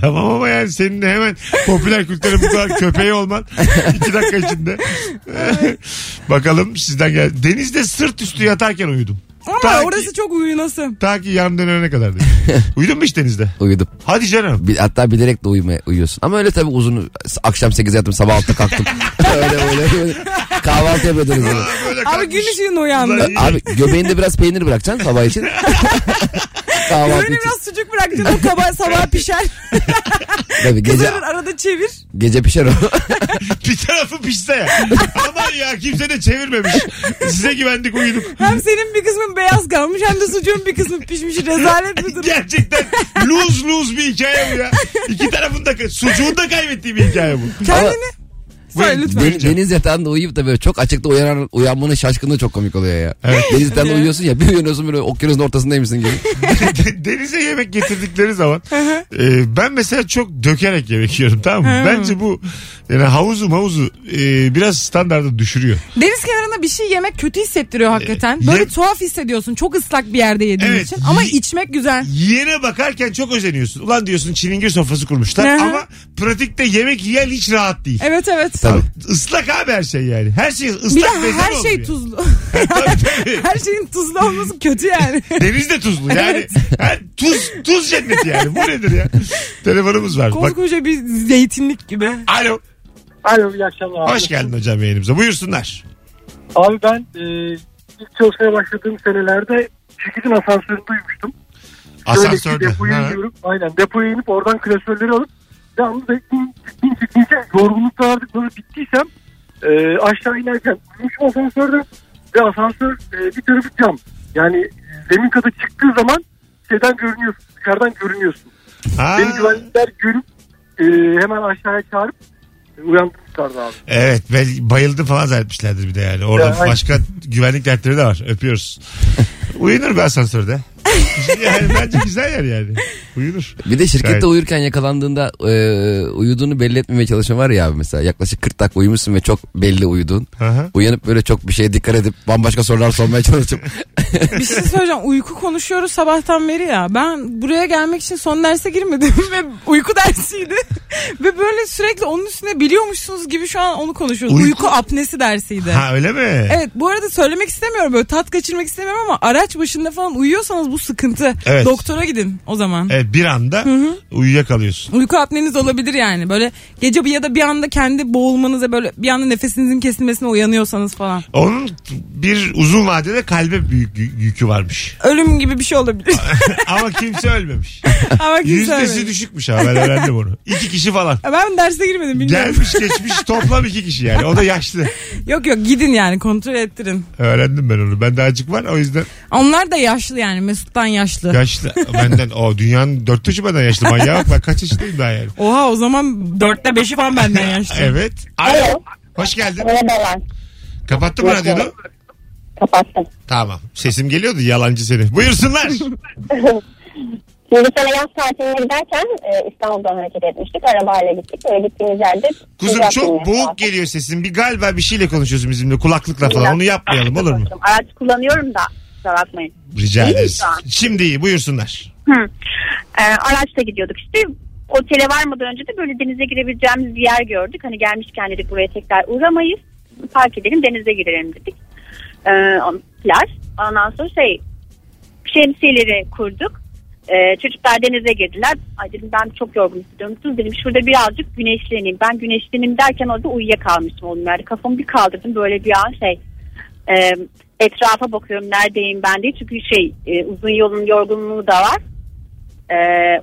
Tamam ama yani senin de hemen popüler kültüre bu kadar köpeği olman iki dakika içinde. Bakalım sizden gel. Denizde sırt üstü yatarken uyudum.
Ama
Ta ki-
orası çok uyunası.
Ta ki yan dönene kadar dedim. Uyudun mu hiç denizde?
Uyudum.
Hadi canım.
Bir- hatta bilerek de uyuma, uyuyorsun. Ama öyle tabii uzun akşam 8'e yattım sabah 6'da kalktım. öyle öyle. öyle. Kahvaltı yapıyordunuz. öyle.
Aa, böyle
Abi
kalkmış.
gün ışığında uyandı.
Ulan iyi.
Ee, Abi göbeğinde biraz peynir bırakacaksın sabah için. Kahvaltı
Öyle
için.
biraz sucuk bıraktın o kaba sabah pişer.
Tabii gece,
Kızarır arada çevir.
gece pişer o.
Bir tarafı pişse ya. Aman ya kimse de çevirmemiş. Size güvendik uyuduk.
Hem senin bir kısmın beyaz kalmış hem de sucuğun bir kısmı pişmiş. Rezalet bir durum.
Gerçekten lose lose bir hikaye bu ya. İki tarafında sucuğunu da kaybettiği bir hikaye bu.
Kendini. Söyle lütfen.
Den- deniz yatağında uyuyup da böyle çok açıkta uyanan, uyanmanın şaşkınlığı çok komik oluyor ya. Deniz yatağında uyuyorsun ya bir uyanıyorsun böyle okyanusun ortasındaymışsın gibi.
De- denize yemek getirdikleri zaman e, ben mesela çok dökerek yemek yiyorum tamam mı? Bence bu yani havuzu havuzu biraz standartı düşürüyor.
Deniz kenarında bir şey yemek kötü hissettiriyor hakikaten.
Ee,
Böyle
yem-
tuhaf hissediyorsun. Çok ıslak bir yerde yediğin
Evet,
için. Ama
yi-
içmek güzel.
Yiyene bakarken çok özeniyorsun. Ulan diyorsun çilingir sofrası kurmuşlar
Aha.
ama pratikte yemek yiyen hiç rahat değil.
Evet evet.
Tabii.
Islak abi her şey yani. Her şey ıslak
Bir de
bezen
her şey
olmuyor.
tuzlu.
Tabii, tabii.
her şeyin tuzlu olması kötü yani.
Deniz de tuzlu yani.
Evet.
Ha, tuz tuz cenneti yani. Bu nedir ya? Telefonumuz var. Bak.
Koskoca bir zeytinlik gibi.
Alo.
Alo iyi akşamlar. abi.
Hoş geldin hocam yayınımıza. Buyursunlar.
Abi ben e, ilk çalışmaya başladığım senelerde şirketin asansörünü duymuştum. Şöyle ki
Asansörde.
Depoya
Ha.
iniyorum. Aynen depoya inip oradan klasörleri alıp yalnız bekleyin çıkmayın çıkmayınca yorgunlukla artık böyle bittiysem e, aşağı inerken uyumuşum asansörde ve asansör e, bir tarafı cam. Yani e, zemin kata çıktığı zaman şeyden görünüyorsun dışarıdan görünüyorsun.
Ha.
Beni güvenlikler görüp e, hemen aşağıya çağırıp e, uyandırmışlardı abi.
Evet bel- bayıldı falan zannetmişlerdir bir de yani. Orada
Ya, ay-
başka güvenlik dertleri de var. Öpüyoruz. Uyunur be asansörde. yani bence güzel yer yani. Uyunur.
Bir de şirkette
Gayet.
uyurken yakalandığında e, uyuduğunu belli etmemeye çalışan var ya abi mesela yaklaşık 40 dakika uyumuşsun ve çok belli uyudun.
Aha.
Uyanıp böyle çok bir şeye dikkat edip bambaşka sorular sormaya çalışıp
Bir şey söyleyeceğim. Uyku konuşuyoruz sabahtan beri ya. Ben buraya gelmek için son derse girmedim ve uyku dersiydi. ve böyle sürekli onun üstüne biliyormuşsunuz gibi şu an onu konuşuyoruz.
Uyku-
Uyku, apnesi dersiydi.
Ha öyle mi?
Evet bu arada söylemek istemiyorum böyle tat kaçırmak istemiyorum ama araç başında falan uyuyorsanız bu sıkıntı.
Evet.
Doktora gidin o zaman.
Evet, bir anda uyuyakalıyorsun.
Uyku apneniz olabilir yani. Böyle gece bir ya da bir anda kendi boğulmanıza böyle bir anda nefesinizin kesilmesine uyanıyorsanız falan.
Onun bir uzun vadede kalbe büyük yü- yükü varmış.
Ölüm gibi bir şey olabilir.
Ama kimse ölmemiş.
Ama kimse
Yüzdesi
ölmedi.
düşükmüş ha ben öğrendim onu. İki kişi falan.
Ben derse girmedim bilmiyorum.
Gelmiş geçmiş toplam iki kişi yani. O da yaşlı.
Yok yok gidin yani kontrol ettirin.
Öğrendim ben onu. Bende acık var o yüzden
Onlar da yaşlı yani Mesut'tan yaşlı.
Yaşlı benden o dünyanın dörtte üçü benden yaşlı manyağa bak ben kaç yaşındayım daha yani.
Oha o zaman dörtte beşi falan benden yaşlı.
Evet. Alo.
Alo.
Hoş geldin.
Merhabalar.
Kapattın mı radyonu?
Kapattım.
Tamam. Sesim geliyordu yalancı seni. Buyursunlar.
Şimdi sana yaz tatiline giderken e, İstanbul'dan hareket etmiştik. Arabayla gittik. Böyle gittiğimiz yerde...
Kuzum
sıcak
çok
dinliyoruz
boğuk
zaten.
geliyor sesin. Bir galiba bir şeyle konuşuyorsun bizimle kulaklıkla falan.
Kulak-
Onu yapmayalım olur mu?
Araç kullanıyorum da. Kusura bakmayın.
Rica
İyi
ederiz.
şu an.
Şimdi iyi buyursunlar.
Hı. Ee, araçla gidiyorduk işte. Otele varmadan önce de böyle denize girebileceğimiz bir yer gördük. Hani gelmişken dedik buraya tekrar uğramayız. Park edelim denize girelim dedik. Ee,
e, plaj. Ondan sonra şey şemsiyeleri kurduk. E, çocuklar denize girdiler. Ay dedim ben çok yorgun hissediyorum. Dur dedim şurada birazcık güneşleneyim. Ben güneşleneyim derken orada uyuyakalmıştım oğlum. Yani kafamı bir kaldırdım böyle bir an şey e, etrafa bakıyorum neredeyim ben diye. Çünkü şey e, uzun yolun yorgunluğu da var. E,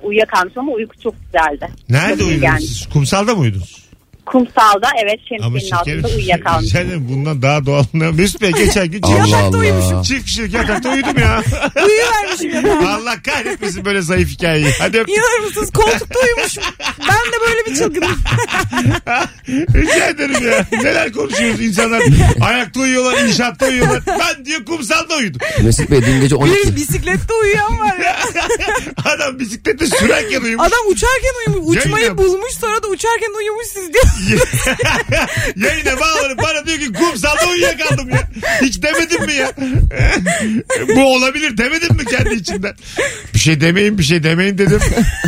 uyuyakalmışım ama uyku çok güzeldi.
Nerede
Çok iyi
uyudunuz
geldi.
siz? Kumsalda mı uyudunuz?
Kumsalda evet
Ama
şemsiyenin
şekerim.
altında uyuyakalmışım.
Senin bundan daha doğal. ne- Mesut Bey geçen gün
Allah
çift
Allah.
uyumuşum. Çift kişilik yatakta uyudum ya.
Uyuvermişim ya.
Allah kahretmesin böyle zayıf hikayeyi. Hadi öptük.
İnanır mısınız koltukta uyumuşum. Ben de böyle bir çılgınım.
Rica ederim ya. Neler konuşuyoruz insanlar. Ayakta uyuyorlar, inşaatta uyuyorlar. Ben diye kumsalda uyudum.
Mesut Bey dün gece 12.
Bir bisiklette uyuyan var ya.
Adam bisiklete sürerken uyumuş.
Adam uçarken uyumuş.
Yayına-
Uçmayı bulmuş sonra da uçarken uyumuş siz diyor.
Yayına bağlanıp bana diyor ki kumsalda uyuyakaldım ya. Hiç demedim mi ya? Bu olabilir demedim mi kendi içinden? Bir şey demeyin bir şey demeyin dedim.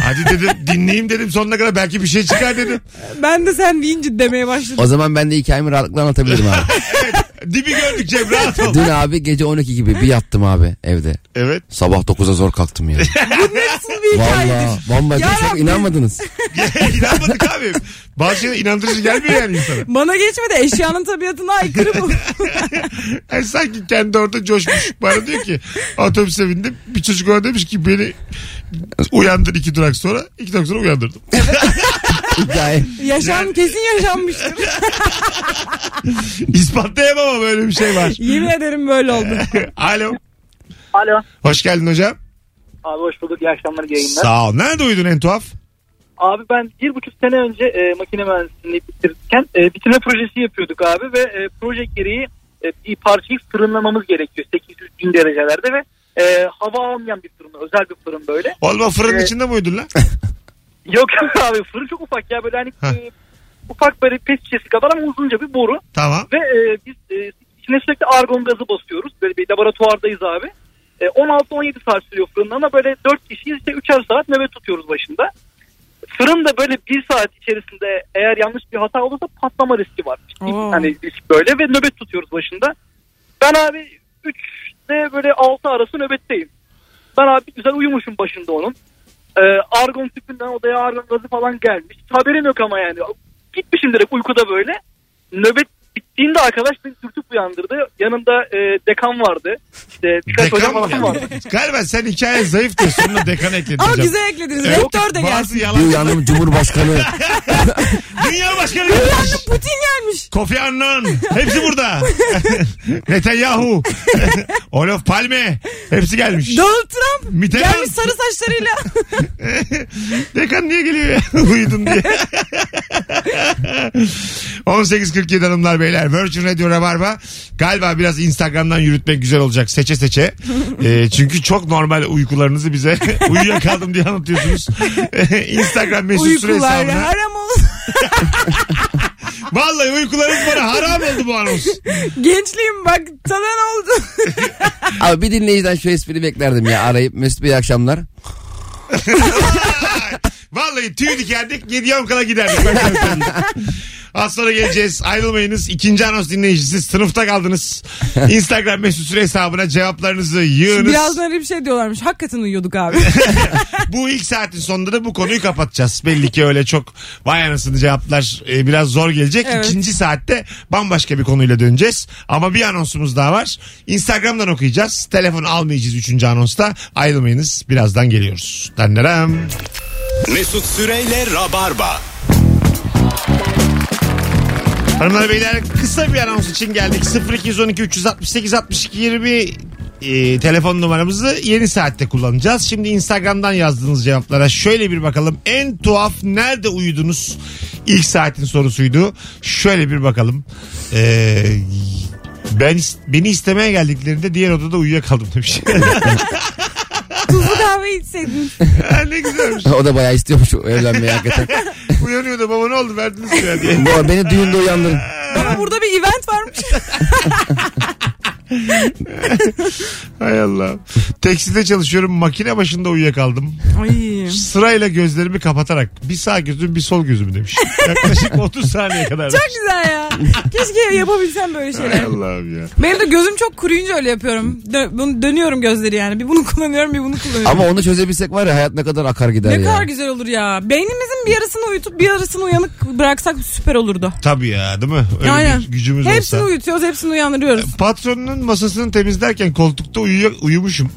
Hadi dedim dinleyeyim dedim sonuna kadar belki bir şey çıkar dedim.
Ben de sen deyince demeye başladım.
O zaman ben de hikayemi rahatlıkla anlatabilirim abi.
Dibi gördük Cem rahat ol.
Dün abi gece 12 gibi bir yattım abi evde.
Evet.
Sabah 9'a zor kalktım ya.
Nasıl bir hikayedir?
Valla bambaşka
Ya
çok
Rabbi.
inanmadınız.
İnanmadık abi. Bazı şeyler inandırıcı gelmiyor yani insana.
Bana geçmedi eşyanın tabiatına aykırı bu.
Yani sanki kendi orada coşmuş. Bana diyor ki otobüse bindim. Bir çocuk ona demiş ki beni uyandır iki durak sonra. İki durak sonra uyandırdım.
Hikaye.
Yaşam kesin yaşanmıştır.
İspatlayamam ama böyle bir şey var.
Yemin ederim böyle oldu.
Alo.
Alo.
Hoş geldin hocam.
Abi hoş bulduk. İyi akşamlar iyi yayınlar.
Sağ ol. Nerede uyudun en tuhaf?
Abi ben bir buçuk sene önce e, makine mühendisliğini bitirirken e, bitirme projesi yapıyorduk abi ve e, proje gereği e, bir parçayı fırınlamamız gerekiyor 800 derecelerde ve e, hava almayan bir fırın özel bir fırın böyle.
Olma fırının
Evet.
içinde mi uyudun lan?
Yok abi fırın çok ufak ya böyle
Hah.
hani e, ufak böyle pes şişesi kadar ama uzunca bir boru
tamam.
ve e, biz e, içine sürekli argon gazı basıyoruz böyle bir laboratuvardayız abi. E, 16-17 saat sürüyor fırında ama böyle 4 kişiyiz işte 3'er saat nöbet tutuyoruz başında. Fırın da böyle bir saat içerisinde eğer yanlış bir hata olursa patlama riski var. Ciddi
Oo.
bir hani risk böyle ve nöbet tutuyoruz başında. Ben abi 3'te böyle 6 arası nöbetteyim. Ben abi güzel uyumuşum başında onun. E, argon tüpünden odaya argon gazı falan gelmiş. Haberim yok ama yani. Gitmişim direkt uykuda böyle. Nöbet bittiğinde arkadaş beni sürtüp uyandırdı. Yanında e, dekan vardı. İşte birkaç hocam
Dekan mı?
falan vardı.
Galiba sen hikaye zayıf diyorsun. Sonuna dekan ekledin
Ama
hocam.
bize eklediniz.
Evet.
Rektör de gelsin.
Bazı
Bir
yalan.
uyandım Cumhurbaşkanı.
Dünya başkanı gelmiş.
Putin gelmiş.
Kofi Annan. Hepsi burada. Netanyahu. Olof Palme. Hepsi gelmiş.
Donald Trump
Mitterrand.
gelmiş sarı saçlarıyla.
Dekan niye geliyor ya? Uyudum diye. 18.47 hanımlar beyler. Virgin Radio Rabarba. Galiba biraz Instagram'dan yürütmek güzel olacak. Seçe seçe. Ee, çünkü çok normal uykularınızı bize uyuyakaldım diye anlatıyorsunuz. Instagram mesut süre
Uykular
hesabına.
haram olsun.
Vallahi uykularınız bana haram oldu bu anons.
Gençliğim bak sana ne oldu?
Abi bir dinleyiciden şu espri beklerdim ya arayıp Mesut Bey iyi akşamlar.
Vallahi tüy dikerdik 7 yam kala giderdik. Ben kendim. Az sonra geleceğiz. Ayrılmayınız. İkinci anons dinleyicisi sınıfta kaldınız. Instagram mesut süre hesabına cevaplarınızı yığınız.
Birazdan öyle bir şey diyorlarmış. Hakikaten uyuyorduk abi.
Bu ilk saatin sonunda da bu konuyu kapatacağız. Belli ki öyle çok vay anasını cevaplar e, biraz zor gelecek.
Evet.
İkinci saatte bambaşka bir konuyla döneceğiz. Ama bir anonsumuz daha var. Instagram'dan okuyacağız. Telefon almayacağız üçüncü anonsta. Ayrılmayınız. Birazdan geliyoruz. Denlerem.
Mesut Süreyle Rabarba.
Hanımlar beyler kısa bir anons için geldik. 0212 368 62 20 e, telefon numaramızı yeni saatte kullanacağız. Şimdi Instagram'dan yazdığınız cevaplara şöyle bir bakalım. En tuhaf nerede uyudunuz? İlk saatin sorusuydu. Şöyle bir bakalım. Ee, ben beni istemeye geldiklerinde diğer odada uyuyakaldım demiş.
Tuzlu kahve içseydin.
Ha, ne güzelmiş.
O da bayağı istiyormuş evlenmeyi hakikaten.
Uyanıyordu baba ne oldu verdiniz mi ya diye.
Bu- Beni düğünde uyandırın.
Ama burada bir event varmış.
Hay Allah. Tekstilde çalışıyorum. Makine başında uyuyakaldım.
Ay.
Sırayla gözlerimi kapatarak bir sağ gözüm bir sol gözüm demiş. Yaklaşık 30 saniye kadar.
Çok güzel ya. Keşke yapabilsem böyle
Hay
şeyler.
Allah'ım ya.
Benim de gözüm çok kuruyunca öyle yapıyorum. Dö- bunu dönüyorum gözleri yani. Bir bunu kullanıyorum, bir bunu kullanıyorum.
Ama onu çözebilsek var ya hayat ne kadar akar gider
ne
ya.
kadar güzel olur ya. Beynimizin bir yarısını uyutup bir yarısını uyanık bıraksak süper olurdu.
Tabii ya değil mi? Öyle
Aynen.
bir gücümüz
hepsini
olsa.
uyutuyoruz, hepsini uyandırıyoruz.
Patronunun masasını temizlerken koltukta uyuyor, uyumuşum.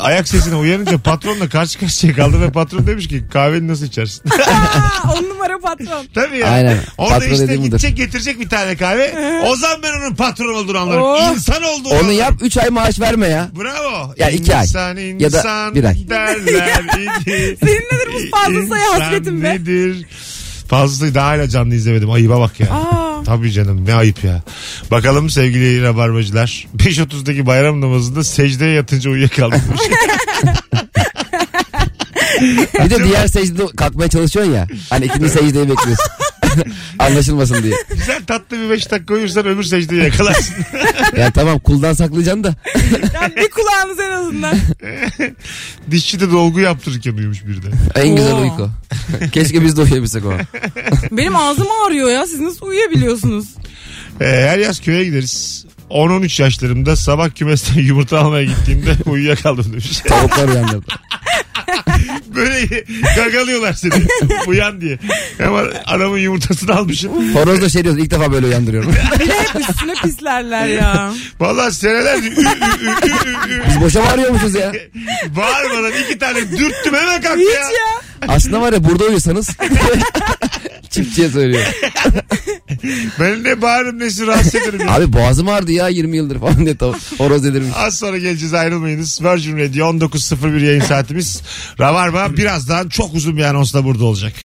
Ayak sesine uyanınca patronla karşı karşıya kaldı ve patron demiş ki kahveni nasıl içersin?
Aa, on numara patron.
Tabii ya.
Aynen.
Orada
Patron
işte
dediği budur.
gidecek getirecek bir tane kahve. o zaman ben onun patron olduğunu anlarım.
Oh.
İnsan olduğunu
Onu
anlarım.
yap 3 ay maaş verme ya.
Bravo.
Ya iki ay.
İnsan,
Ya da
insan
bir ay.
Derler iki.
Senin nedir bu fazla sayı
İnsan
hasretin be?
nedir? Fazla sayı daha hala canlı izlemedim. Ayıba bak ya.
Aa.
Tabii canım ne ayıp ya. Bakalım sevgili rabarbacılar. 5.30'daki bayram namazında secdeye yatınca uyuyakaldım.
Bir de diğer secdede kalkmaya çalışıyorsun ya. Hani ikinci secdeyi bekliyorsun. Anlaşılmasın diye.
Güzel tatlı bir 5 dakika uyursan öbür secdeyi yakalarsın.
Ya tamam kuldan saklayacaksın da.
Yani bir kulağımız en azından.
Dişçi de dolgu yaptırırken uyumuş bir de.
En güzel
Oo.
uyku. Keşke biz de uyuyabilsek o.
Benim ağzım ağrıyor ya. Siz nasıl uyuyabiliyorsunuz?
Ee, her yaz köye gideriz. 10-13 yaşlarımda sabah kümesten yumurta almaya gittiğimde uyuyakaldım demiş.
Tavuklar uyandı.
Böyle gagalıyorlar seni. Uyan diye. Ama adamın yumurtasını almışım.
Horoz da şey diyoruz ilk defa böyle uyandırıyorum.
Bir de hep üstüne pislerler ya.
Vallahi senelerce ü, ü, ü, ü, ü,
Biz boşa varıyormuşuz ya.
ü. bağırmadan iki tane dürttüm hemen kalktı
Hiç
ya.
ya.
Aslında var ya burada uyusanız. Çiftçiye söylüyor.
Ben ne bağırırım nesi rahatsız ederim. ya.
Abi boğazım ağrıdı ya 20 yıldır falan diye tavuk, horoz delirmiş.
Az sonra geleceğiz ayrılmayınız. Virgin Radio 19.01 yayın saatimiz. Rabarba birazdan çok uzun bir anonsla burada olacak.